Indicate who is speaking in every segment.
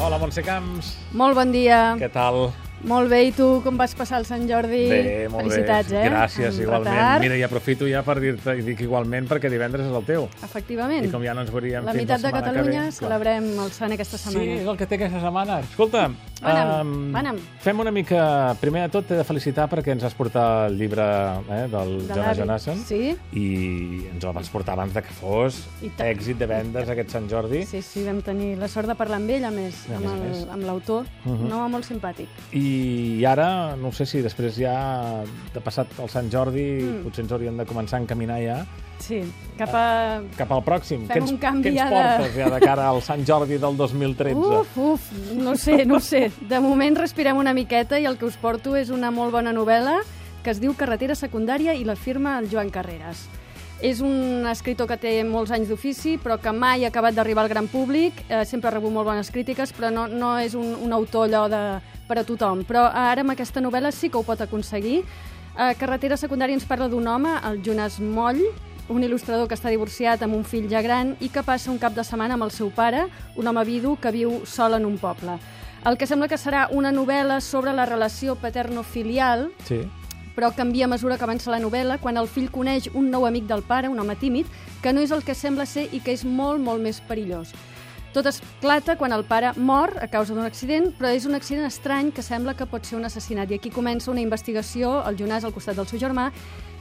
Speaker 1: Hola, Montse Camps.
Speaker 2: Molt bon dia.
Speaker 1: Què tal?
Speaker 2: Molt bé, i tu com vas passar el Sant Jordi?
Speaker 1: Bé, molt
Speaker 2: Felicitats,
Speaker 1: bé.
Speaker 2: eh?
Speaker 1: Gràcies,
Speaker 2: En
Speaker 1: igualment.
Speaker 2: retard.
Speaker 1: Mira, i aprofito ja per dir-te, i dic igualment, perquè divendres és el teu.
Speaker 2: Efectivament.
Speaker 1: I com ja no ens veuríem
Speaker 2: la
Speaker 1: fins
Speaker 2: meitat
Speaker 1: la
Speaker 2: de
Speaker 1: setmana
Speaker 2: Catalunya
Speaker 1: que ve, clar.
Speaker 2: celebrem el Sant aquesta setmana.
Speaker 1: Sí, és el que té aquesta setmana. Escolta,
Speaker 2: Mana'm,
Speaker 1: em,
Speaker 2: mana'm.
Speaker 1: fem una mica... Primer de tot, t'he de felicitar perquè ens has portat el llibre eh, del
Speaker 2: De
Speaker 1: Jonas
Speaker 2: l'avi.
Speaker 1: Jonasson.
Speaker 2: Sí.
Speaker 1: I ens el vas portar abans de que fos
Speaker 2: I tant.
Speaker 1: èxit de vendes aquest Sant Jordi.
Speaker 2: Sí, sí, vam tenir la sort de parlar amb ell, a més,
Speaker 1: A
Speaker 2: amb
Speaker 1: més a
Speaker 2: el-
Speaker 1: més. Mhm.
Speaker 2: amb l'autor. Un home molt simpàtic.
Speaker 1: I ara, no ho sé si després ja de passat el Sant Jordi, mm. potser ens hauríem de començar a encaminar ja
Speaker 2: Sí, cap a...
Speaker 1: cap al pròxim.
Speaker 2: Fem
Speaker 1: què ens,
Speaker 2: un
Speaker 1: què
Speaker 2: canvi
Speaker 1: ens
Speaker 2: ja de-
Speaker 1: portes ja de cara al Sant Jordi del 2013?
Speaker 2: Uf, uf, no ho sé, no ho sé. De moment respirem una miqueta i el que us porto és una molt bona novel·la que es diu Carretera secundària i la firma el Joan Carreras. És un escritor que té molts anys d'ofici, però que mai ha acabat d'arribar al gran públic. Eh, sempre ha rebut molt bones crítiques, però no, no és un, un autor allò de, per a tothom. Però ara amb aquesta novel·la sí que ho pot aconseguir. Eh, Carretera secundària ens parla d'un home, el Jonas Moll, un il·lustrador que està divorciat amb un fill ja gran i que passa un cap de setmana amb el seu pare, un home vidu que viu sol en un poble. El que sembla que serà una novel·la sobre la relació paterno-filial,
Speaker 1: Sí.
Speaker 2: però canvia a mesura que avança la novel·la quan el fill coneix un nou amic del pare, un home tímid, que no és el que sembla ser i que és molt, molt més perillós. Tot esclata quan el pare mor a causa d'un accident, però és un accident estrany que sembla que pot ser un assassinat. I aquí comença una investigació, el Jonàs al costat del seu germà,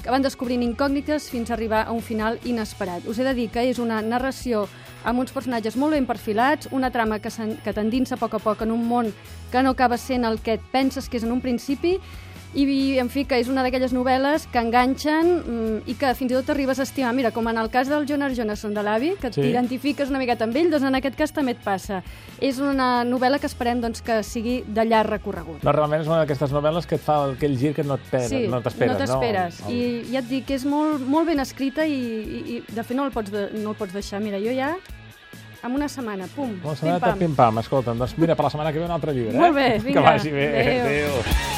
Speaker 2: que van descobrint incògnites fins a arribar a un final inesperat. Us he de dir que és una narració amb uns personatges molt ben perfilats, una trama que, s'en- que t'endinsa a poc a poc en un món que no acaba sent el que et penses que és en un principi, i, en fi, que és una d'aquelles novel·les que enganxen mm, i que fins i tot arribes a estimar. Mira, com en el cas del Jonas Jonasson de l'avi, que
Speaker 1: Sí.
Speaker 2: sí. t'identifiques una miqueta amb ell, doncs en aquest cas també et passa. És una novel·la que esperem doncs, que sigui de llarg recorregut.
Speaker 1: No, realment és una d'aquestes novel·les que et fa aquell gir que no t'esperes. no t'esperes.
Speaker 2: no t'esperes. No? I ja et dic que és molt, molt ben escrita i, i, i de fet no el, pots de, no el pots deixar. Mira, jo ja, en una setmana, pum,
Speaker 1: Una setmaneta
Speaker 2: pim-pam.
Speaker 1: pim-pam. Escolta'm, doncs mira, per la setmana que ve un altre llibre.
Speaker 2: Molt
Speaker 1: eh?
Speaker 2: bé, vinga.
Speaker 1: Que vagi bé.
Speaker 2: Adéu.
Speaker 1: Adéu.